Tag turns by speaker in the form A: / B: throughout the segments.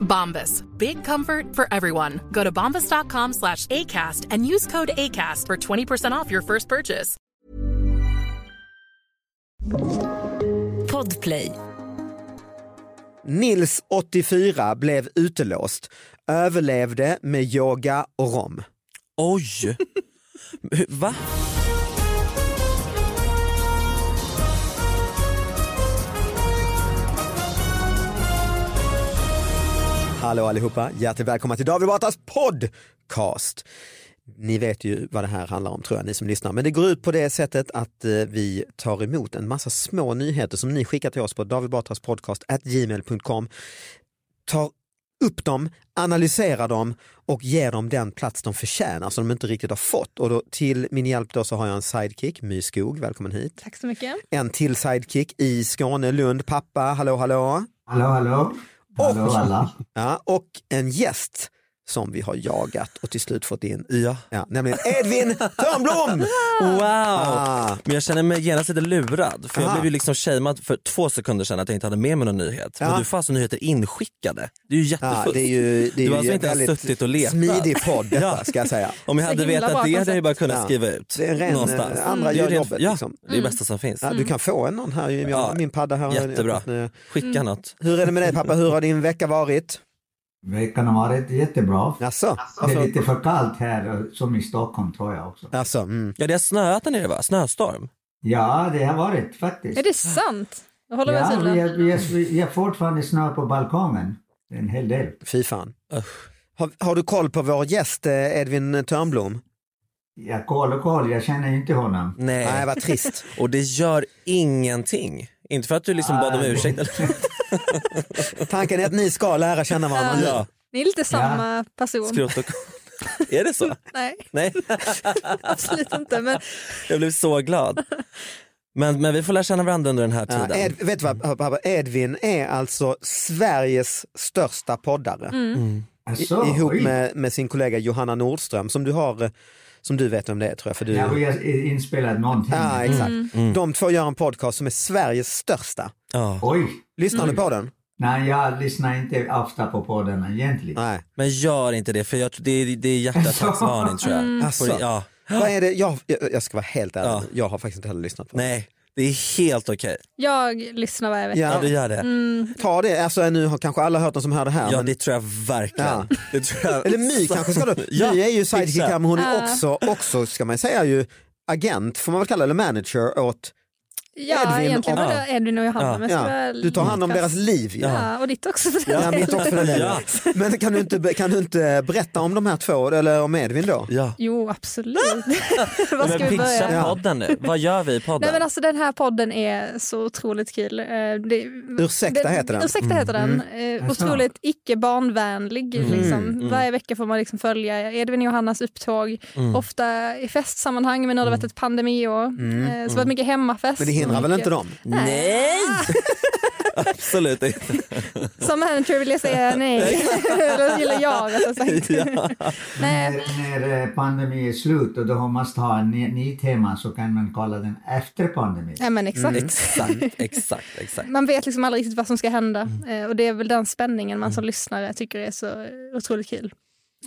A: Bombas. Big comfort for everyone. Go to bombas.com slash ACAST and use code ACAST for 20% off your first purchase.
B: Podplay.
C: Nils, 84, blev utelåst. Överlevde med yoga och rom.
D: Oj! Va?
C: Hallå allihopa, hjärtligt välkomna till David Batras podcast. Ni vet ju vad det här handlar om tror jag, ni som lyssnar. Men det går ut på det sättet att eh, vi tar emot en massa små nyheter som ni skickar till oss på davidbatraspodcast.gmail.com. Tar upp dem, analyserar dem och ger dem den plats de förtjänar som de inte riktigt har fått. Och då, till min hjälp då så har jag en sidekick, My Skog, välkommen hit.
E: Tack så mycket.
C: En till sidekick i Skåne, Lund, pappa, hallå hallå.
F: Hallå, hallå. Hallå
C: Och-
F: alla.
C: Ja, och en gäst som vi har jagat och till slut fått in, ja. nämligen Edvin Törnblom!
D: Wow!
C: Ah.
D: Men jag känner mig genast lite lurad för jag
C: Aha.
D: blev ju liksom shamead för två sekunder sedan att jag inte hade med mig någon nyhet.
C: Ja.
D: Men du får alltså nyheter inskickade. Det är ju
C: Ja,
D: jättefusk.
C: det är ju, det är
D: du
C: ju
D: har alltså inte ens
C: väldigt
D: suttit och letat.
C: smidig podd detta
D: Ja.
C: ska jag säga.
D: Om jag
E: Så
D: hade
E: himla bra
D: vetat det hade jag ju bara kunnat
C: Ja.
D: skriva ut.
C: Det är en ren,
D: någonstans. Mm,
C: eh, andra
D: Det är ju
C: gör
D: ren-
C: jobbet,
D: Ja,
C: liksom.
D: det är det bästa som finns.
C: Ja, du kan få en någon här, jag har
D: Ja,
C: min padda här.
D: Jättebra.
E: Mm.
D: Skicka något.
C: Hur är det med dig pappa, hur har din vecka varit?
F: Veckan har varit jättebra.
C: Jaså?
F: Det
C: Alltså,
F: är lite för kallt här, eh, som i Stockholm tror jag också.
C: alltså, mm.
D: Ja det har snöat där nere va? Snöstorm?
F: Ja, det har varit faktiskt.
E: Är det sant? Jag håller med
F: ja, vi
E: Silla.
F: har, vi, har, vi har fortfarande snö på balkongen. Det är En hel del.
C: Fy fan. Har, har du koll på vår gäst eh, Edvin Törnblom?
F: Jag koll och koll, jag känner ju inte honom.
D: Nej.
C: Nej, vad trist.
D: Och det gör ingenting. Inte för att du liksom bad om ursäkt eller
C: Tanken är att ni ska lära känna varandra nu.
D: ja,
E: Eh, Ni är lite samma person.
D: skrot och Är det så?
E: Nej,
D: Nej,
E: absolut inte. Men
D: jag blev så glad. Men, men vi får lära känna varandra under den här
C: Ja,
D: tiden.
C: Eh, Ed, vet du vad, pappa? Edvin är alltså Sveriges största poddare I,
F: Alltså,
C: ihop
F: Mm. oj.
C: med, med sin kollega Johanna Nordström som du har eh, som du vet om det är, tror jag. För du...
F: Ja, vi har inspelat någonting. Mm.
C: Ja, exakt.
D: Mm.
C: De två gör en podcast som är Sveriges största.
D: Ja.
F: Oj!
C: Lyssnar
F: Mm.
C: du på den?
F: Nej, jag lyssnar inte ofta på poddarna egentligen.
C: Nej.
D: Men gör inte det för jag, tror- det, är- det är hjärtattacksvarning tror jag.
C: Mm. Asså.
D: Får- Alltså, Ja.
C: Vad är det? Jag, jag, jag ska vara helt ärlig,
D: Ja.
C: jag har faktiskt inte heller lyssnat på den.
D: Nej, det är helt okej.
E: jag lyssnar varje vecka.
D: Ja.
C: Ja,
D: du gör det.
C: ta det, alltså, nu har kanske alla hört den som hör det här.
D: Ja
C: men...
D: det tror jag verkligen.
C: Ja.
D: Det tror jag...
C: Eller My kanske ska du.
D: Ja,
C: My är ju sidekick
D: exakt.
C: här men hon är också, också, ska man säga ju, agent, får man väl kalla det, eller manager åt
E: Ja,
C: Edvin
E: egentligen
C: och-
E: var det Edvin och Johanna. Men så
C: Ja,
E: väl-
C: du tar hand om deras liv. ju.
E: Ja, och ditt också. för den
C: Ja,
E: delen.
C: mitt också för den delen. Men kan du, inte, kan du inte berätta om de här två, eller om Edvin då?
D: Ja.
E: Jo, absolut. Var ska
D: Men
E: vi
D: pitcha
E: börja?
C: Ja.
D: podden nu. Vad gör vi i podden?
E: Nej, men alltså, den här podden är så otroligt kul. Eh, Det,
C: Ursäkta heter den. Mm.
E: Ursäkta heter den. Eh, Otroligt icke barnvänlig. Liksom.
C: Mm.
E: Varje vecka får man liksom följa Edvin och Johannas upptåg.
C: Mm.
E: Ofta i festsammanhang, men nu har det varit ett
C: Mm.
E: pandemiår. Eh, så det har varit mycket hemmafest.
C: Men det hindrar väl inte dem?
D: Nej! Absolut inte.
E: Som manager vill jag säga nej. Eller gillar jag rättare sagt. Nej.
F: När, när eh, pandemin är slut och då måste ha en ny, ny tema så kan man kalla den efter pandemin.
E: Nej, men exakt.
C: Mm.
D: Exakt, exakt, exakt.
E: Man vet liksom aldrig riktigt vad som ska hända
C: Mm.
E: Eh, och det är väl den spänningen man som lyssnare tycker är så otroligt kul.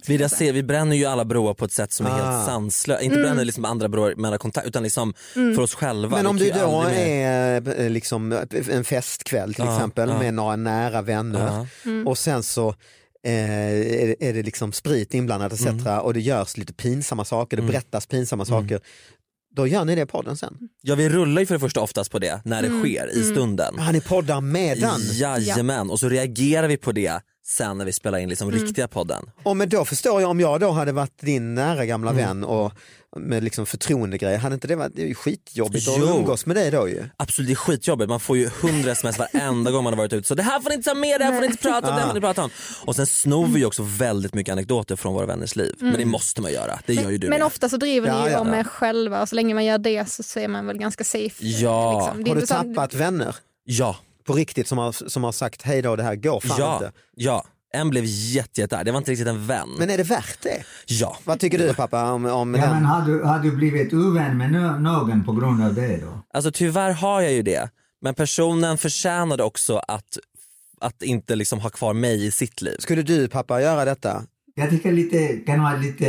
D: Vi, raser, vi bränner ju alla broar på ett sätt som är
C: Ah. Mm.
D: helt sanslöst. Inte bränner liksom andra broar med alla kontakt utan liksom för oss själva.
C: Men om
D: Vi
C: du
D: kan ju
C: då
D: aldrig mer- Ah,
C: är eh, liksom en festkväll till
D: Ja,
C: exempel
D: ja.
C: med några nära vänner Mm.
D: Ja.
C: och sen så eh, är det- är det liksom sprit inblandat etc.
D: Mm.
C: och det görs lite pinsamma saker, det berättas pinsamma saker. Då gör ni det i podden sen. Mm.
D: Ja vi rullar ju för det första oftast på det när det sker i stunden.
C: Ja, ni poddar medan.
D: Jajamän, och så reagerar vi på det sen när vi spelar in liksom
C: Mm.
D: riktiga podden.
C: Och men då förstår jag om jag då hade varit din nära gamla
F: Mm.
C: vän och med liksom förtroendegrejer, hade inte det varit det är ju skitjobbigt
D: Jo.
C: att umgås med dig då ju?
D: Absolut, det är skitjobbigt. Man får ju hundra sms varenda gång man har varit ute. Så det här får ni inte ta med, det här får ni inte prata om, det här får ni prata om.
E: Ah.
D: Och sen snor vi ju också väldigt mycket anekdoter från våra vänners liv. Men det måste man göra, det gör ju du
E: Mm. Men
D: med.
E: ofta så driver ni
C: Ja,
E: ju
C: ja,
E: om
C: ja.
E: er själva och så länge man gör det så, så är man väl ganska safe.
D: Ja.
E: liksom. Det är
C: Har du
E: inte så-
C: tappat vänner
D: Ja,
C: på riktigt som har, som har sagt hej då det här går fan
D: ja,
C: inte?
D: ja. En blev jätte, jättearg, det var inte riktigt en vän.
C: Men är det värt det?
D: Ja.
C: Vad tycker du pappa om, om
F: Ja, men
C: den?
F: har du, har du blivit ovän med nå- någon på grund av det då?
D: Alltså tyvärr har jag ju det. Men personen förtjänade också att, att inte liksom ha kvar mig i sitt liv.
C: Skulle du pappa göra detta?
F: Jag tycker lite, kan vara lite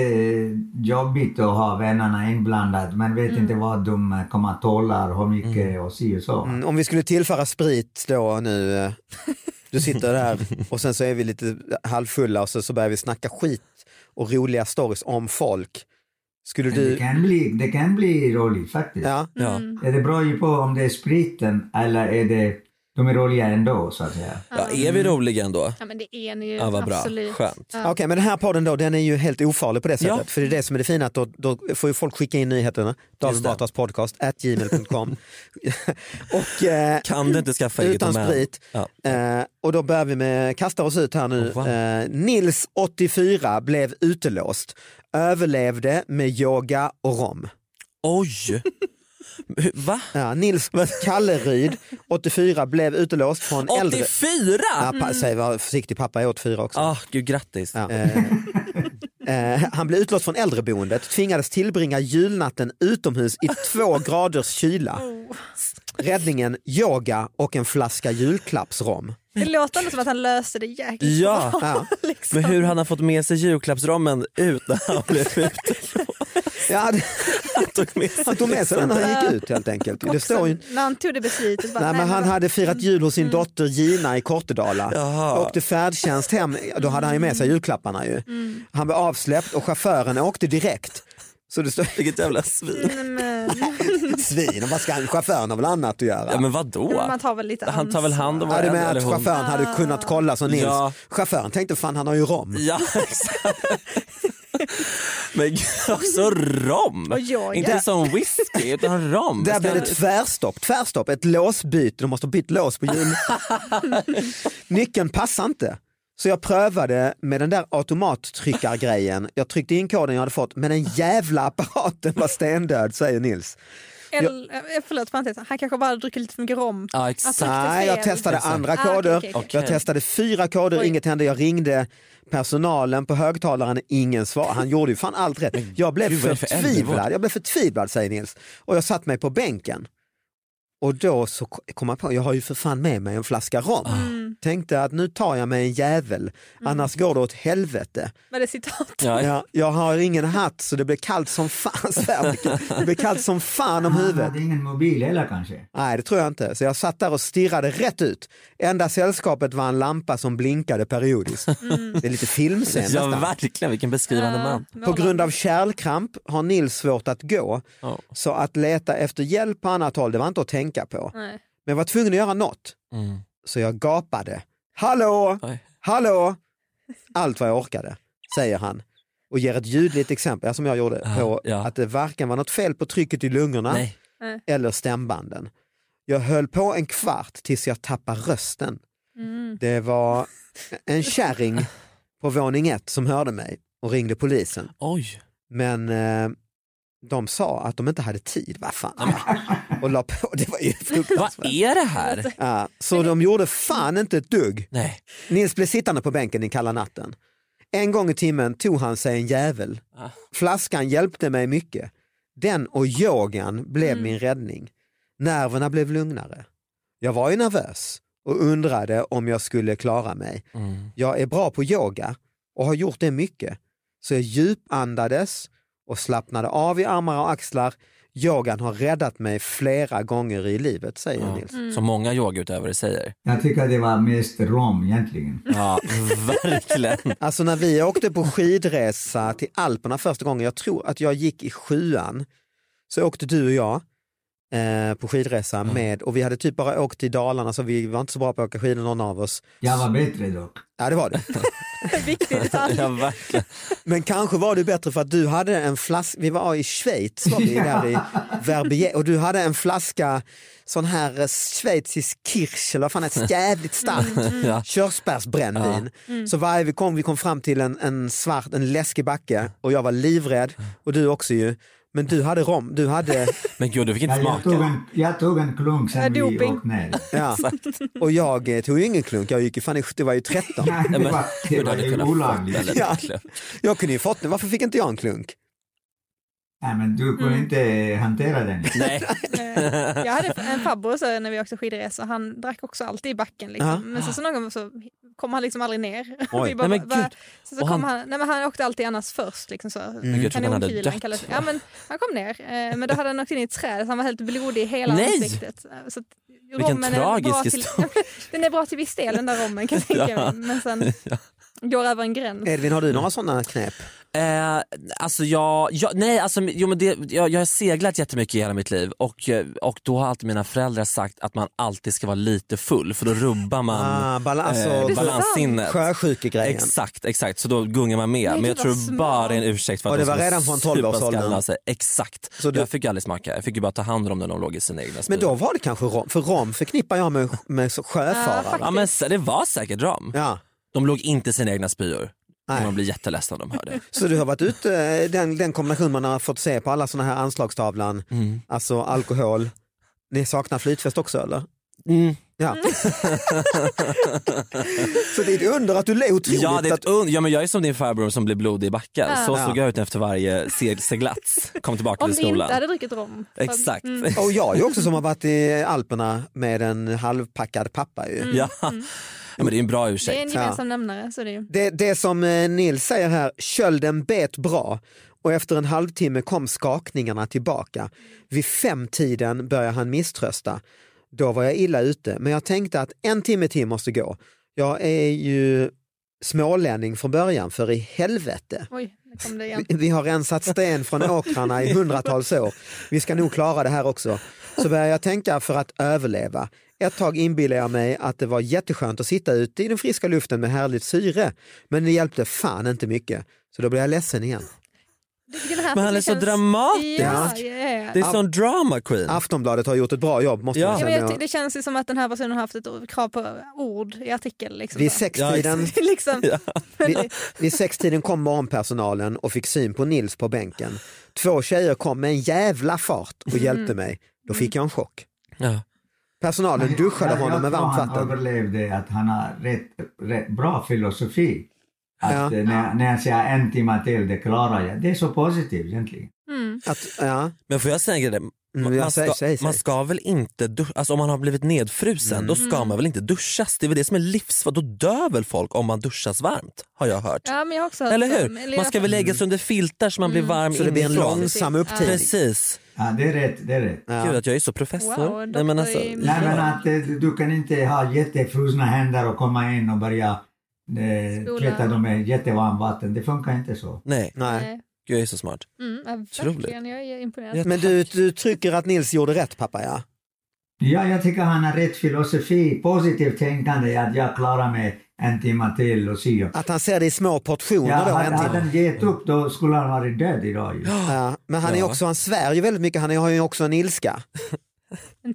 F: jobbigt att ha vännerna inblandade. Man vet inte vad de kommer att tåla, hur mycket och si och så.
C: Mm. Mm, om vi skulle tillföra sprit då nu, eh, du sitter där och sen så är vi lite halvfulla och så, så börjar vi snacka skit och roliga stories om folk. Skulle
F: Men Det,
C: du...
F: kan bli, det kan bli roligt faktiskt.
C: Ja.
D: Ja.
F: Ja, Det beror ju på om det är spriten eller är det, de är roliga ändå så att säga.
D: Ja, är vi roliga ändå?
E: Ja men det är ni ju
D: Ja, vad bra.
E: absolut.
D: Skönt.
C: Okej, men den här podden då, den är ju helt ofarlig på det sättet.
D: Ja.
C: För det är det som är det fina, att då, då får ju folk skicka in nyheterna. David Batras podcast, at gmail.com. och eh,
D: Kan du inte skaffa eget
C: utan
D: domän?
C: sprit.
D: Ja.
C: Eh, och då börjar vi med, kastar oss ut här nu.
D: Oh, wow.
C: eh, Nils, 84, blev utelåst. Överlevde med yoga och rom.
D: Oj! Hur- Va?
C: Ja, Nils Kalleryd, 84, blev utelåst från äldre...
D: 84?
C: Ja, pa, säg, var försiktig, pappa är 84 också.
D: Mm. Ah, gud grattis.
C: Ja. Eh, han blev utlåst från äldreboendet, tvingades tillbringa julnatten utomhus i två graders kyla.
D: Oh.
C: Räddningen, yoga och en flaska julklappsrom.
E: Det låter ändå som att han löste det jäkligt
D: Ja.
E: bra.
C: Ja.
E: liksom.
D: Men hur han har fått med sig julklappsramen ut när han blev ute?
C: Ja, det-
D: Han tog med sig
C: han tog med sig den när han gick ut helt enkelt. Det står ju...
E: När han tog det beslutet. Bara,
C: Nej, men han
E: vad-
C: hade firat jul hos sin
D: Mm.
C: dotter Gina i Kortedala. Åkte färdtjänst hem, då hade han ju med sig julklapparna ju.
D: Mm.
C: Han blev avsläppt och chauffören åkte direkt. Så det står
D: Vilket jävla svin.
E: Nej, men-
C: svin, vad ska han- chauffören har väl annat att göra?
D: Ja men vadå?
E: Man tar väl lite
D: Han tar väl
E: ansvar.
D: hand om
C: Ja, du
D: varandra
C: menar
D: eller
C: att
D: hon?
C: chauffören hade kunnat kolla som Nils.
D: Ja.
C: Chauffören tänkte fan han har ju rom.
D: Ja exakt. Men gud, också rom.
E: Och yoga.
D: Inte som whisky utan rom.
C: Där blev det tvärstopp, tvärstopp, ett låsbyte, de måste ha bytt lås på jul. Nyckeln passar inte. Så jag prövade med den där automattryckargrejen, jag tryckte in koden jag hade fått men den jävla apparaten var stendöd säger Nils.
E: Eller, eh, förlåt, parentes. han kanske bara druckit lite för mycket rom.
D: Ja exakt.
E: Tryckte
C: Nej,
E: fel.
C: jag testade
E: Exakt.
C: andra
E: Ah, okej,
C: koder.
E: okej, okej.
C: Jag testade fyra koder,
E: Oj.
C: inget hände. Jag ringde personalen på högtalaren, ingen svar. Han gjorde ju fan allt rätt. Jag blev
D: gud, vad är det för
C: förtvivlad,
D: äldrevård?
C: jag blev förtvivlad säger Nils. Och jag satt mig på bänken. Och då så ko- kom jag på, jag har ju för fan med mig en flaska rom.
D: Ah.
C: Tänkte att nu tar jag mig en jävel, annars går det åt helvete.
E: Med det citatet.
D: Ja,
C: Jag, jag har ingen hatt så det blir kallt som fan. Så här, Det blir kallt som fan
D: Ah,
C: om
F: Han
C: huvudet.
F: hade ingen mobil heller kanske.
C: Nej, det tror jag inte. Så jag satt där och stirrade rätt ut. Enda sällskapet var en lampa som blinkade periodiskt. Det är lite filmscen
D: ja
C: nästan.
D: verkligen vilken beskrivande man.
C: På grund av kärlkramp har Nils svårt att gå,
D: Ja.
C: så att leta efter hjälp på annat håll, det var inte att tänka på.
E: Nej.
C: Men jag var tvungen att göra något,
D: Mm.
C: så jag gapade. Hallå,
D: Oj.
C: hallå! Allt vad jag orkade, säger han. Och ger ett ljudligt exempel, som jag gjorde, på
D: Ja, ja.
C: att det varken var något fel på trycket i lungorna,
D: Nej.
C: eller stämbanden. Jag höll på en kvart tills jag tappade rösten.
D: Mm.
C: Det var en kärring på våning ett som hörde mig och ringde polisen.
D: Oj.
C: Men eh, de sa att de inte hade tid, vad fan. och la på, det var ju fruktansvärt.
D: Vad är det här?
C: Ja, så de gjorde fan inte ett dugg.
D: Nej.
C: Nils blev sittande på bänken i kalla natten. En gång i timmen tog han sig en jävel.
D: Ah.
C: Flaskan hjälpte mig mycket. Den och yogan blev
D: Mm.
C: min räddning. Nerverna blev lugnare. Jag var ju nervös och undrade om jag skulle klara mig.
D: Mm.
C: Jag är bra på yoga och har gjort det mycket. Så jag djupandades och slappnade av i armar och axlar. Yogan har räddat mig flera gånger i livet, säger Nils.
D: Som många yogautövare säger.
F: Jag tycker det var mest rom egentligen.
D: Ja, verkligen.
C: Alltså när vi åkte på skidresa till Alperna första gången, jag tror att jag gick i sjuan, så åkte du och jag eh, på skidresa med, och vi hade typ bara åkt till Dalarna så vi var inte så bra på att åka skidor någon av oss.
F: Jag var bättre dock.
C: Ja det var det.
E: Viktig detalj.
D: Ja, verkligen.
C: Men kanske var det bättre för att du hade en flaska, vi var i Schweiz var vi där i Verbier, och du hade en flaska sån här eh, schweizisk kirsch, eller vad fan heter det, jävligt starkt
D: Ja. Mm.
C: körsbärsbrännvin. Så varje vi kom, vi kom fram till en, en svart, en läskig backe och jag var livrädd och du också ju. Men du hade rom, du hade,
D: Men gud, du fick
F: Ja,
D: inte
F: jag, tog
D: smaka.
F: en, jag tog en klunk sen vi
E: Doping.
F: åkte ner.
C: ja. Och jag eh, tog ju ingen klunk, jag gick ju fan i, det var ju 13.
F: Nej, det
D: men-
F: var, det
D: Men du
F: var
D: hade
F: ju
D: kunnat fått
F: olagligt.
D: väldigt
C: Ja.
D: mycket.
C: Jag kunde ju fått den, varför fick inte jag en klunk?
F: Nej, men du kunde inte hantera den.
D: Nej,
E: Eh, Jag hade en farbror så när vi åkte skidresa, han drack också alltid i backen. Liksom.
C: Ja.
E: Men sen så någon gång så kom han liksom aldrig ner.
C: Oj.
E: Vi bara,
D: Nej, men
E: "Va?"
D: gud.
E: Sen så
D: Och
E: kom
D: han-
E: han... Nej, men han åkte alltid annars först. Liksom, så.
D: Men jag trodde han hade
E: Kanonkilen
D: dött.
E: kallades det. Ja, men han kom ner, eh, men då hade han åkt in i ett träd så han var helt blodig i hela
D: Nej!
E: ansiktet. Eh, Så att,
D: Vilken
E: rommen är
D: tragisk
E: bra till-
D: historia.
E: Den är bra till viss del den där rommen kan jag tänka
D: Ja.
E: mig. Men sen går över en gräns.
C: Edvin, har du några sådana knep?
D: Eh, alltså jag, jag, nej alltså, jo, men det, jag, jag har seglat jättemycket i hela mitt liv och, eh, och då har alltid mina föräldrar sagt att man alltid ska vara lite full för då rubbar man
C: Ah, bala- alltså,
D: eh,
C: det är
D: balanssinnet.
C: Sjösjukegrejen.
D: Exakt, exakt. Så då gungar man med.
E: Men
D: Men jag
E: gud,
D: tror
E: vad
D: bara
E: smart.
D: det är en ursäkt för
C: Och
D: att
C: det
D: de
C: var
D: ska
C: redan från 12-årsåldern.
D: supa skallen av sig. Exakt.
C: Så du-
D: Jag fick ju aldrig smaka. Jag fick ju bara ta hand om dem när de låg i sina egna
C: Men
D: spyor.
C: då var det kanske rom, för rom förknippar jag med, med så- sjöfarare.
D: Ja men s- det var säkert ram.
C: Ja.
D: De låg inte i sina egna spyor.
C: Nej.
D: Man blir jätteledsen om de hör det.
C: Så du har varit ute, eh, den, den kombination man har fått se på alla sådana här anslagstavlan,
F: Mm.
C: alltså alkohol, ni saknar flytväst också eller?
D: Mm.
C: Ja. så det är ett under att du le otroligt.
D: Ja, det är
C: att,
D: ett und- ja, men jag är som din farbror som blir blodig i backen. Så
C: Ja.
D: såg jag ut efter varje seg- seglats. Kom tillbaka
E: Om
D: till
E: du inte
D: skolan.
E: hade druckit rom. Så-
D: Exakt.
E: Mm.
C: och jag är ju också som har varit i Alperna med en halvpackad pappa ju.
D: Mm. Ja. ja, men det är en bra
E: Mm. Det är
D: ursäkt.
E: en gemensam nämnare. Så det är ju.
C: Det, det som eh, Nils säger här, kölden bet bra och efter en halvtimme kom skakningarna tillbaka. Vid femtiden började han misströsta. Då var jag illa ute, men jag tänkte att en timme till måste gå. Jag är ju smålänning från början, för i helvete.
E: Oj, nu kom det igen.
C: Vi- Vi har rensat sten från åkrarna i hundratals år. Vi ska nog klara det här också. Så börjar jag tänka för att överleva. Ett tag inbillade jag mig att det var jätteskönt att sitta ute i den friska luften med härligt syre. Men det hjälpte fan inte mycket. Så då blev jag ledsen igen.
E: Det- det här
D: Men han är så
E: känns-
D: dramatisk.
E: Ja, ja, ja.
D: Det är sån drama queen.
C: Aftonbladet har gjort ett bra jobb måste
D: Ja.
C: man
E: Ja, men
C: säga.
E: jag ty- det känns ju som att den här personen har haft ett o- krav på ord i artikel. Liksom,
C: Vid
E: så.
C: sextiden,
E: liksom,
C: vid, vid sextiden kom morgonpersonalen och fick syn på Nils på bänken. Två tjejer kom med en jävla fart och hjälpte mig. Då fick jag en chock.
D: Ja.
C: Personalen duschade honom med varmt
F: Jag tror han
C: vatten.
F: överlevde att han har rätt, rätt bra filosofi. Att
C: Ja.
F: eh, när, när jag säger en timme till, det klarar jag. Det är så positivt egentligen.
C: Att, ja. Mm,
D: Men får jag säga en grej? där? Man,
C: jag
D: man,
C: säger-
D: ska,
C: säger- säger.
D: man ska väl inte duscha, alltså om man har blivit nedfrusen då ska man väl inte duschas? Det är väl det som är livsfarligt, då dör väl folk om man duschas varmt har jag hört.
E: ja, men jag har också hört
D: Eller
E: det.
D: hur? Man ska väl
E: jag-
D: lägga sig under filtar så man blir varm
C: Så det blir en
D: inifrån.
C: långsam upptining.
D: Precis,
F: Ja, det är rätt, det är rätt.
D: gud att jag är så professor.
E: Wow,
D: Nej, men
E: doktor
D: alltså,
E: i-
F: Nej, men att eh, du kan inte ha jättefrusna händer och komma in och börja eh,
E: Spola.
F: tvätta dem med jättevarmt vatten. Det funkar inte så.
D: nej,
C: Nej.
E: Nej.
D: gud jag är så smart.
E: Mm, ja,
D: Otroligt.
E: verkligen, jag är imponerad.
D: Jätte-
C: Men du, du trycker att Nils gjorde rätt pappa ja?
F: Ja, jag tycker han har rätt filosofi, positivt tänkande, att jag klarar mig en timme till och si och
C: Att han ser det i små portioner
F: Ja,
C: då?
F: hade,
C: en
F: hade
C: timme.
F: han gett upp då skulle han varit död idag ju.
C: Ja, men han, är
D: Ja.
C: också, han svär ju väldigt mycket, han har ju också en ilska.
E: En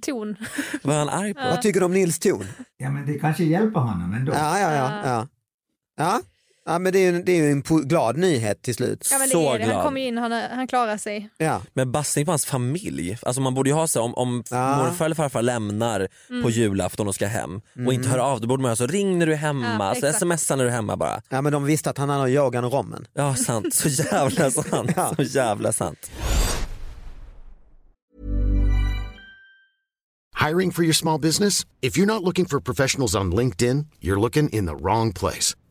E: ton.
D: Vad är han arg på?
C: Vad tycker du om Nils ton?
E: Eh.
F: Ja men det kanske hjälper honom ändå.
C: Ja, ja, ja. ja. ja. Ja, men det är ju det är ju en po- glad nyhet till slut.
E: Ja, men det
D: Så
E: är det.
D: glad.
E: Han kommer ju in, han, han klarar sig.
C: Ja.
D: Men bassning på hans familj, alltså man borde ju ha så här, om, om
C: Ja.
D: morfar eller farfar lämnar
E: Mm.
D: på julafton och ska hem och
F: Mm.
D: inte hör av, då borde man ha så ring när du är hemma,
E: Ja,
D: så
E: exakt.
D: smsa när du är hemma bara.
C: ja, men de visste att han hade yogan och rommen.
D: Ja sant, så jävla sant, så jävla sant.
G: Hiring for your small business? If you're not looking for professionals on LinkedIn, you're looking in the wrong place.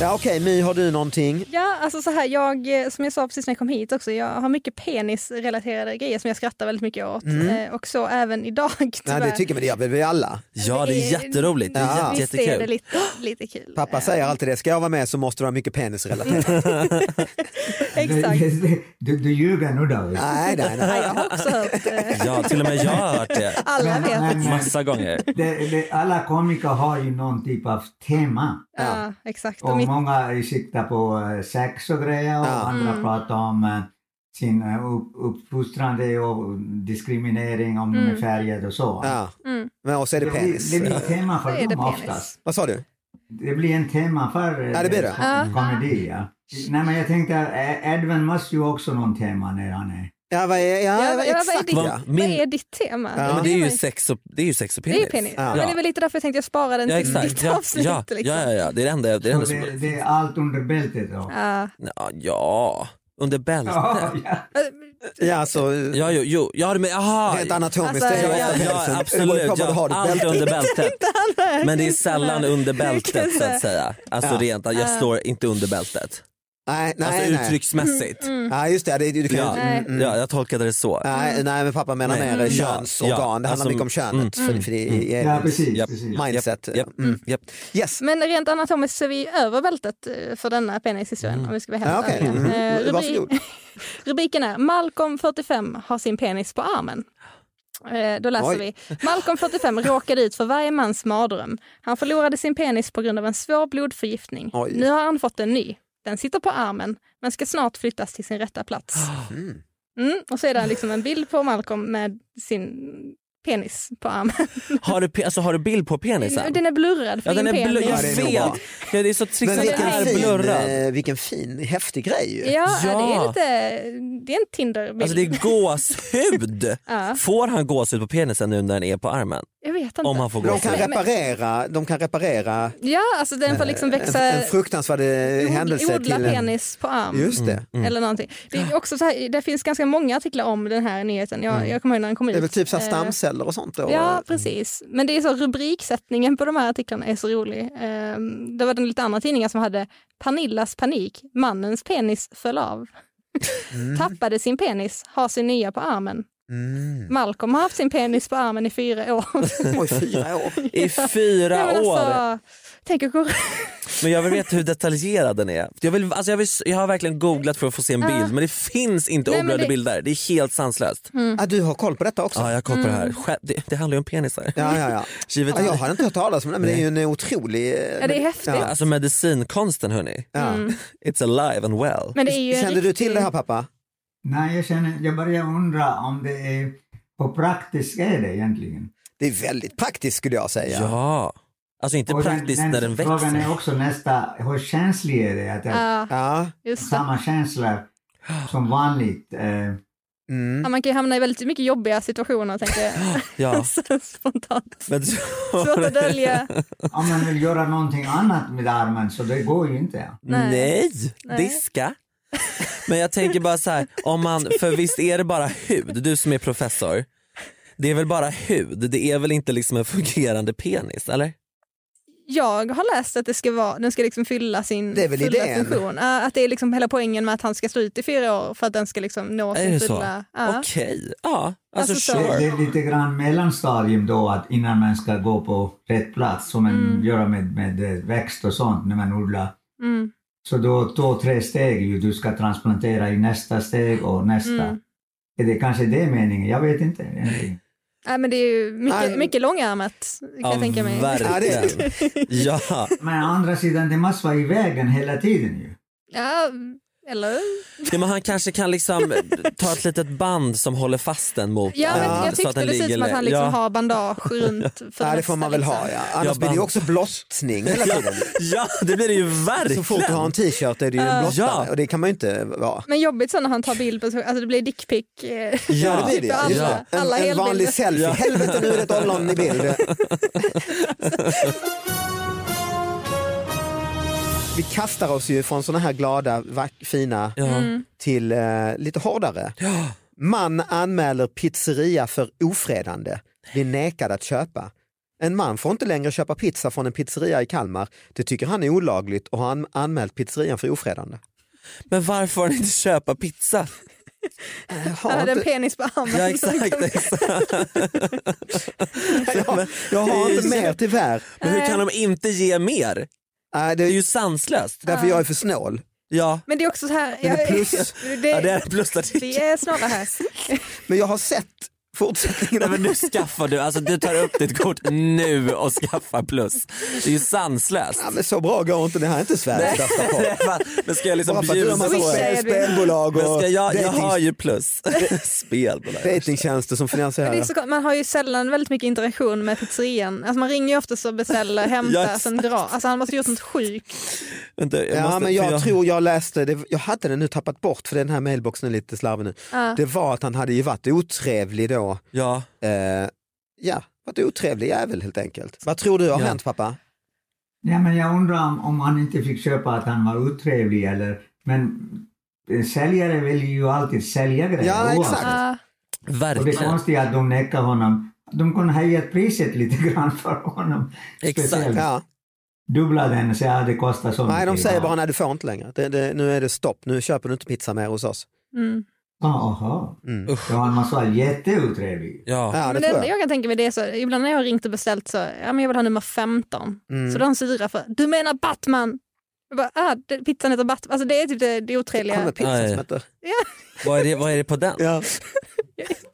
C: Ja, Okej, My har du någonting?
E: Ja, alltså så här, jag, eh, som jag sa precis när jag kom hit också, jag har mycket penisrelaterade grejer som jag skrattar väldigt mycket åt.
D: Mm.
E: Eh, Och så även idag
C: Nej,
E: tyvärr.
C: det tycker jag, men det gör väl vi alla.
D: Ja det är jätteroligt, det är
C: Ja.
D: jätte,
E: Visst är det
D: jättekul.
E: lite, lite kul.
C: Pappa säger alltid det, ska jag vara med så måste det vara mycket penisrelaterat.
E: Exakt.
F: Du, du ljuger nu David.
C: nej, nej, nej.
E: Ja, jag har också hört eh,
D: Ja till och med jag har hört det
E: alla vet.
F: Men, men,
D: massa gånger.
F: det, det, alla komiker har ju någon typ av tema.
E: Ja, exakt. Och
F: Och
E: mitt,
F: många siktar på eh, sex och grejer och andra
E: Mm.
F: pratar om eh, sin eh, upp, uppfostrande och diskriminering om
E: Mm.
F: de är färgade och så.
C: Ja. Men och så är det
F: Det blir,
C: penis.
F: det blir tema för
E: Vad är det
F: dem
E: penis?
F: oftast.
C: Vad sa du?
F: Det blir en tema för eh,
C: Ja, det blir det.
F: kom- komedi.
E: Mm.
F: Ja. Nej, men jag tänkte, eh, Edvin måste ju också någon tema när han är...
C: Ja, vad är,
E: Ja,
C: ja,
E: vad- ja, vad är
C: exakt
E: ditt-
C: ja.
E: vad
D: Min-
E: är ditt tema?
C: Ja,
D: Men det är ju
E: mig.
D: sex och, det är ju sex och
E: Det är
D: penis.
E: ju penis.
C: Ja.
E: Men det är väl lite därför jag tänkte jag sparar den
D: Ja
E: till
D: exakt,
E: ditt
D: ja,
E: avsnitt.
D: ja, ja,
E: liksom.
D: ja, ja. det är det enda, det är det enda
F: Så Det,
D: som...
F: det är allt under bältet då.
E: Ja.
D: Ja, ja. under bältet.
F: Ja, ja.
C: ja så,
D: Ja, jo, jo. ja men aha.
C: rent anatomiskt.
E: Alltså,
C: det
D: Ja,
C: är ju
D: ja,
C: ofta
D: ja,
C: pälsen.
D: absolut.
C: Kommer du
D: Ja,
C: ha ditt
D: allt
C: bälte?
D: under bältet. Men det är sällan under
E: Vilken
D: bältet så att
E: så-
D: säga. Alltså
C: Ja.
D: rent, jag slår inte under bältet.
C: Nej, nej,
D: Alltså
C: nej. Mm,
D: uttrycksmässigt.
C: Ja, just det. det du kan,
D: Ja.
C: mm, mm.
D: ja, jag tolkade det så. Mm.
C: Nej, nej, men pappa menar
D: Nej. Mm.
C: mer
D: Ja,
C: könsorgan.
D: ja,
C: det handlar
D: alltså, Mm.
C: mycket om könet. För, för det är
F: ja precis.
D: Japp.
F: precis.
C: mindset.
D: Japp, japp,
C: Mm.
D: japp.
C: Yes.
E: Men rent anatomiskt så är vi över bältet eh, för denna penishistorien om vi ska vara helt
C: Ja, okej.
E: ärliga.
C: Mm.
E: Eh, rubri-
C: Varsågod.
E: Rubriken är Malcolm 45 har sin penis på armen. Eh, Då läser
C: Oj.
E: vi. Malcolm 45 råkade ut för varje mans mardröm. Han förlorade sin penis på grund av en svår blodförgiftning.
C: Oj.
E: Nu har han fått en ny. Den sitter på armen men ska snart flyttas till sin rätta plats. Mm. Och så är det liksom en bild på Malcolm med sin penis på armen.
D: Har, du, pe- alltså, har du bild på penisen?
E: Den är blurrad. för
D: ja, den
E: din
D: är blur,
E: penis.
D: jag
C: Ja,
D: vet.
C: det är nog bra.
D: Ja, det är så trixigt,
C: Men
D: den är
C: vilken fin,
D: blurrad.
C: eh, vilken fin, häftig grej ju.
E: Ja,
D: Ja.
E: Det, är lite, det är en Tinder-bild.
D: Alltså det är gåshud.
E: Ja.
D: Får han gåshud på penisen nu när den är på armen?
E: Jag vet inte.
D: Om han får
C: De kan
D: gåshud.
E: Men-
C: reparera, de kan reparera
E: Ja, alltså den får liksom
C: en,
E: växa,
C: en fruktansvärd eh, händelse
E: odla
C: till en...
E: penis på arm.
C: Just det.
D: Mm.
E: Eller någonting. Det, är också så här, det finns ganska många artiklar om den här nyheten. Jag, jag kommer ihåg när den kom ut.
C: Mm. Det är väl typ så här
E: Eh,
C: stamceller och sånt då?
E: Ja, precis. Men det är så rubriksättningen på de här artiklarna är så rolig. Eh, Det var den lite andra tidningar som hade Pernillas panik, mannens penis föll av.
C: Mm.
E: Tappade sin penis, har sin nya på armen.
C: Mm.
E: Malcolm har haft sin penis på armen i fyra år.
C: Oj, fyra år.
D: I fyra
E: Nej, men
D: år.
E: alltså, tänk att gå...
D: Men jag vill veta hur detaljerad den är. Jag, vill, alltså jag, vill, jag har verkligen googlat för att få se en bild men det finns inte
E: Nej, men
D: oblöda
E: det- Mm.
D: bilder. Det är helt sanslöst.
C: Ah, du har koll på detta också?
D: Ja, jag har koll på det här. Själv- Det, det handlar ju om penisar.
C: Ja, ja, ja.
D: Givet-
C: ja jag har inte hört talas om det, men det är ju en otrolig...
E: Ja, det är häftigt. Mm.
D: Alltså medicinkonsten hörni. It's alive and well.
E: Men det är ju en
C: Kände du
E: riktig-
C: till det här pappa?
F: Nej, jag, känner, jag börjar undra om det är... Hur praktiskt är det egentligen?
C: Det är väldigt praktiskt skulle jag säga.
D: Ja. Alltså inte
F: Och
D: praktiskt när den
F: Frågan är
D: växer.
F: också nästa, hur känslig är det? Att det är
E: Ja,
C: Ja.
E: just det.
F: samma känslor som vanligt. Eh,
C: Mm.
E: Ja, man kan ju hamna i väldigt mycket jobbiga situationer tänker jag.
C: Ja.
E: Så Spontant.
D: Men
E: Svårt att dölja.
F: Om man vill göra någonting annat med armen så det går ju inte.
D: Nej.
E: Nej.
D: diska. Men jag tänker bara så här, om man, för visst är det bara hud, du som är professor. Det är väl bara hud, det är väl inte liksom en fungerande penis eller?
E: Jag har läst att det ska vara, den ska liksom fylla sin
C: Det är väl
E: fulla
C: idén.
E: funktion. Ja, Att det är liksom hela poängen med att han ska stå ut i fyra år för att den ska liksom nå
D: Är det
E: sin
D: så?
E: fulla... Ja.
D: Okej, ja. Alltså,
E: Alltså, så-
D: sure.
F: Det är lite grann mellanstadium då att innan man ska gå på rätt plats som man gör med, med eh, växt och sånt när man odlar.
E: Mm.
F: Så då två, tre steg ju du ska transplantera i nästa steg och nästa.
E: Mm.
F: Är det kanske det är meningen? Jag vet inte. egentligen.
E: Nej, men det är ju mycket, mycket långärmat kan
F: Ja,
E: jag tänka mig.
F: verkligen.
D: Ja.
F: Men å andra sidan, det måste vara i vägen hela tiden ju.
E: ja, eller?
D: Ja, men han kanske kan liksom ta ett litet band som håller fast den mot
E: Ja, men
D: armen,
E: jag
D: så att
E: tyckte
D: den
E: det ser ut som
D: ligger-
E: att han liksom
D: ja.
E: har bandage runt för
C: Ja, det
E: nästa,
C: får man väl
E: liksom.
C: ha ja. Annars
D: Ja,
C: blir det ju
D: band-
C: också blottning hela
D: Ja,
C: tiden.
D: ja, det blir det ju verkligen.
C: Så fort du har en t-shirt är det ju en
E: Ja.
C: blottare och det kan man ju inte vara.
E: Men jobbigt så när han tar bild på sig alltså det blir dickpic. Ja,
C: Ja, det blir det.
E: Typ Alla,
C: Ja. En,
E: alla
C: en
E: helbilder.
C: vanlig selfie.
D: Ja.
C: Helvete nu är det ett ollon i bild. Vi kastar oss ju från såna här glada, vack, fina
D: Mm.
C: till eh, lite hårdare. Man anmäler pizzeria för ofredande, blir nekad att köpa. En man får inte längre köpa pizza från en pizzeria i Kalmar. Det tycker han är olagligt och har an- anmält pizzerian för ofredande.
D: Men varför får han inte köpa pizza?
E: Han hade en penis på armen.
D: Ja exakt. exakt.
C: jag, jag har inte mer tyvärr.
D: Men hur kan de inte ge mer?
C: Nej,
D: Det är
C: det,
D: ju sanslöst.
C: därför jag är för snål.
D: Ja.
E: Men det är också så här.
C: Men det är plus.
E: det,
D: Ja, det är
E: det,
D: en plusartikel.
E: är snarare här.
C: Men jag har sett fortsättningen.
D: Nej,
C: av-
D: men nu skaffar du, alltså du tar upp ditt kort nu och skaffar plus. Det är ju sanslöst.
C: Ja, men så bra går inte, det här är inte Sveriges bästa
D: Det
C: podd.
D: är fan- Men ska jag liksom
C: Bara för att du
D: bjuda
C: har massa
E: Swisha
C: spel,
E: är det.
C: spelbolag och
D: Men ska jag, jag
C: dating-
D: har ju plus. Spelbolag.
C: datingtjänster som
E: Men det är
C: finansierar.
E: så, gott. man har ju sällan väldigt mycket interaktion med pizzerian. Alltså man ringer ju ofta och beställer,
D: Ja,
E: hämtar,
D: exakt.
E: sen drar. Alltså han måste ha gjort något sjukt.
D: Vänta, jag
C: Ja,
D: måste,
C: men
D: för
C: jag tror jag läste, det, jag hade den nu tappat bort för den här mailboxen är lite slarvig nu. Det var att han hade ju varit otrevlig då.
D: Ja,
C: Eh, ja, varit otrevlig jävel helt enkelt. Vad tror du har
D: Ja.
C: hänt pappa?
F: Ja, men jag undrar om, om han inte fick köpa att han var otrevlig eller... Men eh, säljare vill ju alltid sälja grejer.
C: Ja,
F: oavsett.
C: exakt.
E: Ja.
F: Och det
D: verkligen.
F: konstiga är att de nekar honom. De kunde höja priset lite grann för honom.
D: Exakt.
F: Speciellt.
C: Ja.
F: Dubbla den och säga att det kostar så
C: Nej, de
F: mycket.
C: säger bara nej du får inte längre. Det, det, nu är det stopp, nu köper du inte pizza mer hos oss.
E: Mm.
F: Ja, Jaha.
C: Mm.
D: Usch.
F: Ja, han måste vara jätteotrevlig.
D: Ja.
C: Ja, det
E: Men det
C: tror
E: enda
C: jag.
E: jag kan tänka mig det är så, ibland när jag har ringt och beställt så, ja men jag vill ha nummer 15.
C: Mm.
E: Så de syrar för, du menar Batman! Jag bara, ah, det, pizzan heter Batman. Alltså det är typ det, det
C: Kommer
E: otrevliga.
C: pizza
D: Nej.
C: som heter.
D: Vad, är det, vad är det på den?
C: Ja.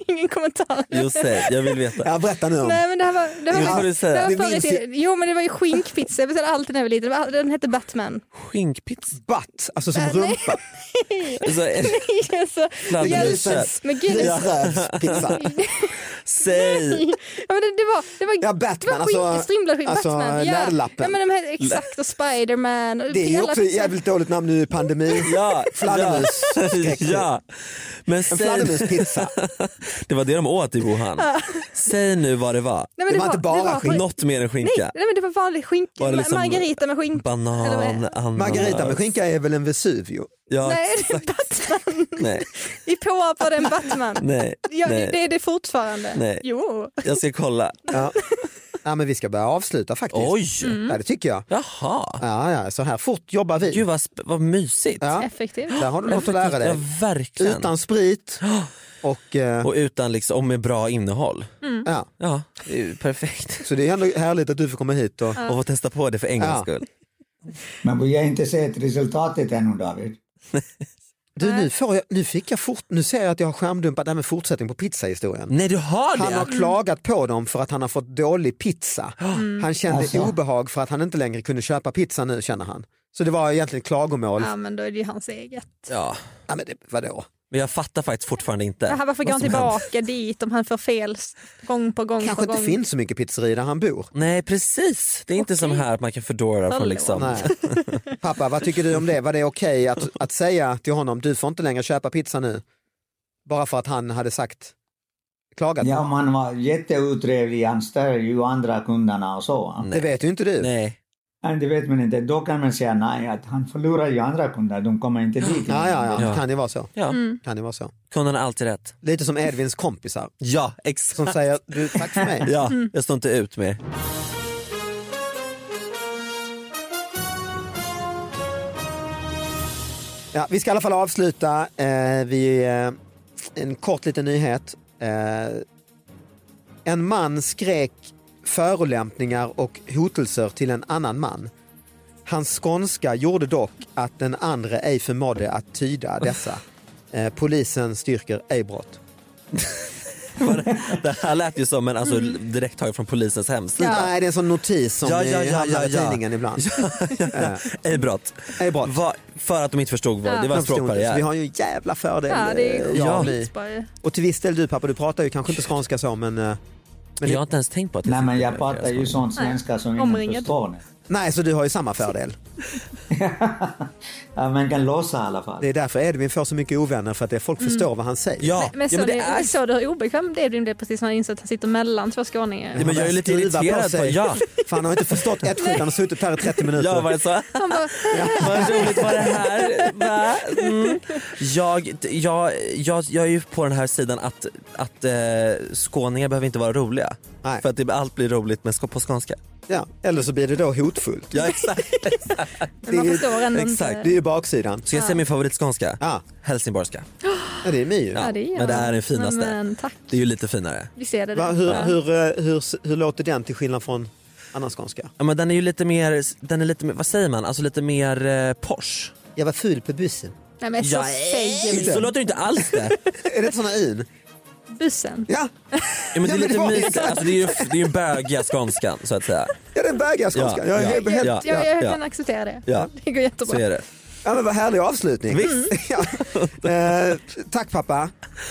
E: Ingen kommentar.
D: Just det, jag vill veta.
C: ja, berätta nu om.
E: Nej men det här var, det
D: Jo,
E: var,
D: får du
E: det
D: säga.
E: här
C: Vi
E: var
C: minns
E: förut, Jo men det var ju skinkpizza, jag beställde alltid när jag var liten. Det var- Den hette Batman.
D: Skinkpizza?
C: Butt, alltså som
E: Nej.
C: rumpa.
D: Alltså, är det
E: alltså,
D: fladdermusen?
E: men gud. Ja.
C: Grisrövspizza.
D: Säg!
E: men det, det var, det var,
C: Ja,
E: det var
C: Batman,
E: skink,
C: alltså-
E: strimlad skink,
C: alltså,
E: Batman. Ja.
C: Läderlappen.
E: Ja, men de hette exakt och Spiderman. och
C: Det är ju
E: hela
C: också ett
E: pizzan.
C: jävligt dåligt namn nu i pandemi.
D: Ja,
C: Fladdermus.
D: Ja. ja. Men
C: En
D: säg,
C: fladdermuspizza.
D: det var det de åt i Wuhan. Säg nu vad det var.
E: Nej, men
C: Det var inte bara skink.
D: Något mer än
E: Nej,
D: skinka.
E: nej men det var vanlig skinka,
D: Var det liksom
E: margarita med skinka. Eller vad är
D: Banan,
E: det?
D: ananas.
C: Margarita med skinka är väl en Vesuvio?
D: Ja,
E: Nej, det är
D: exakt.
E: Batman.
D: Nej,
E: Vi påhoppade en Batman.
D: nej,
E: Ja, det, det
D: nej.
E: är det fortfarande.
D: Nej.
E: Jo.
D: Jag ska kolla.
C: Ja. ja men vi ska börja avsluta faktiskt.
D: Oj!
E: Mm.
C: Ja, det tycker jag.
D: Jaha.
C: Ja, ja, så här fort jobbar vi.
D: Gud vad, sp- vad mysigt.
C: Ja.
E: Effektivt.
C: Där har du något att lära
D: Ja,
C: dig.
D: verkligen.
C: Utan sprit och... eh,
D: Och utan liksom, och med bra innehåll.
E: Mm.
C: Ja.
D: Ja, det är ju perfekt.
C: Så det är ändå härligt att du får komma hit. Och,
D: Och få testa på det för en gångs
C: Ja.
D: skull.
F: Men vi har inte sett resultatet ännu, David.
C: du, nu, får jag, nu fick jag fort, nu ser jag att jag har skärmdumpat det här med fortsättning på pizzahistorien.
D: Nej du har
C: Han
D: det?
C: har klagat på dem för att han har fått dålig pizza.
E: Mm.
C: Han kände
F: Alltså.
C: obehag för att han inte längre kunde köpa pizza nu känner han. Så det var egentligen klagomål.
E: Ja, men då är det ju hans eget.
D: Ja.
C: Ja, men det, vadå?
D: Men jag fattar faktiskt fortfarande inte.
E: Det här, varför går
D: vad
E: han
D: som hänt.
E: tillbaka dit om han får fel s- gång på gång
C: Kanske
E: på gång?
C: inte finns så mycket pizzerior där han bor.
D: Nej precis, det är inte som här att man kan fördora
E: Hallå.
D: från liksom.
C: Nej. Pappa, vad tycker du om det? Var det okej att, att säga till honom, du får inte längre köpa pizza nu? Bara för att han hade sagt, klagat på
F: Ja, man var jätteotrevlig, han stör ju andra kunderna och så. va?
C: Det vet ju inte du.
D: Nej.
F: Nej, det vet man inte. Då kan man säga nej, att han förlorar ju andra kunder, de kommer inte dit.
C: Ja, ja, ja.
D: Ja.
C: kan det vara så.
D: Ja.
C: Kan det vara så.
D: Kunden har alltid rätt.
C: Lite som Edvins kompisar
D: Ja, exakt.
C: som säger du, tack för mig.
D: Ja, jag står inte ut med er.
C: Ja, vi ska i alla fall avsluta. Eh, vi, eh, en kort liten nyhet. Eh, en man skrek förolämpningar och hotelser till en annan man. Hans skånska gjorde dock att den andra ej förmådde att tyda dessa. Eh, polisen styrker ej brott.
D: Det här lät ju som en alltså, direkt taget från polisens hemsida.
C: Nej, det är en sån notis som
D: Ja,
C: ja,
D: ja, ja,
C: hamnar i
D: ja, ja.
C: tidningen ibland.
D: Ja. Ej brott.
C: Ej brott.
D: Va, för att de inte förstod vad
E: Ja.
D: det var
C: De
D: en
C: förstod inte, så
D: språkbarriär.
C: vi har ju en jävla fördel.
E: Ja, det är
C: eh,
E: ju
C: jag och
E: ja.
C: ni. Och till viss del du pappa, du pratar ju kanske inte skånska så men... eh, men
D: Jag har inte ens tänkt på att det
F: Nej, men
D: sitter
F: jag
D: där
F: pratar
D: deras
F: ju
D: barn.
F: sånt svenska som ingen
E: Omringad.
F: förstår.
C: Nej, så du har ju samma fördel.
F: Ja, man kan låsa i alla fall.
C: Det är därför Edvin får så mycket ovänner, för att det är folk förstår vad han säger.
D: Mm. Ja,
E: Men så,
D: ja, men det
E: det,
D: är...
E: så du hur obekväm det blev precis när han insåg att han sitter mellan två skåningar.
D: Ja, men jag är lite
C: Skruva
D: irriterad på-
C: sig.
D: ja.
C: För han har inte förstått ett skit, han har suttit här i 30 minuter.
D: Jag var så,
E: Han bara,
D: vad roligt var det här? Va? Mm. Jag, jag, jag, jag är ju på den här sidan att, att eh, skåningar behöver inte vara roliga.
C: Nej.
D: För att det, allt blir roligt med, sk- på skånska.
C: ja. Eller så blir det då hotfullt.
D: Ja, exakt.
E: men man
C: Det är-
E: förstår ändå
D: exakt.
C: Det är
E: inte.
C: ju baksidan.
D: Så jag säger min favoritskånska,
C: Ja,
D: helsingborgska.
C: ja det är mig ju.
E: Ja, det är,
D: Men det här är den finaste.
E: Men, men tack,
D: Det är ju lite finare.
E: vi ser det.
C: Va,
E: där.
C: hur,
E: Ja.
C: hur, eh, hur, hur låter den till skillnad från annan skånska?
D: Ja, men den är ju lite mer, den är lite mer, vad säger man, alltså lite mer eh, Porsche.
C: Jag var ful på bussen.
E: Nej men så
D: Ja,
E: säger
D: Så
E: vi.
D: låter det inte alls det.
C: Är det inte såna in?
E: Bussen.
C: Ja,
D: Ja, men det
C: Ja,
D: är
C: men det
D: lite
C: var-
D: mysigt, alltså, det är ju det är ju bögiga skånskan så att säga.
C: ja den vägar skånska.
D: Ja,
C: Jag är
D: ja,
C: helt- helt...
D: ja.
E: Ja, jag, jag
D: ja.
E: kan acceptera det.
D: Ja.
E: Det går jättebra.
D: Så är det. Mm.
C: Ja, men vad härlig avslutning. ja. eh, tack pappa.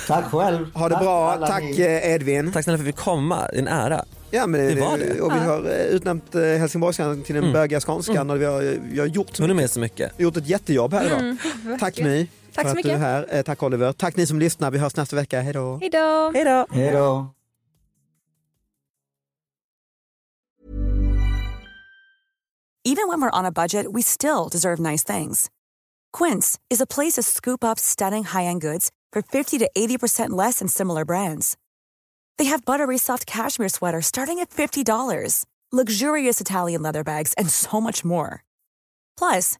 F: Tack själv.
C: Ha det
F: Tack
C: bra.
F: alla
C: Tack
F: ni.
C: eh, Edvin.
D: Tack snälla för att vi fick komma, det är en ära.
C: Ja, men det,
D: Det var det.
C: Och vi har eh, utnämnt eh, helsingborgskan till den bögiga skånskan och vi har, eh, vi har gjort, så
D: Hon är
C: mycket,
D: Mm. med så mycket.
C: gjort ett jättejobb här idag. Tack My
E: Mm. Tack
C: för
E: så
C: att du är
E: mycket.
C: här. Eh, Tack Oliver. Tack ni som lyssnar. Vi hörs nästa vecka. Hej då.
E: Hej då.
D: Hej då.
F: Hej då.
B: even when we're on a budget, we still deserve nice things. Quince is a place to scoop up stunning high-end goods for 50 to 80% less than similar brands. They have buttery soft cashmere sweaters starting at $50, luxurious Italian leather bags, and so much more. Plus,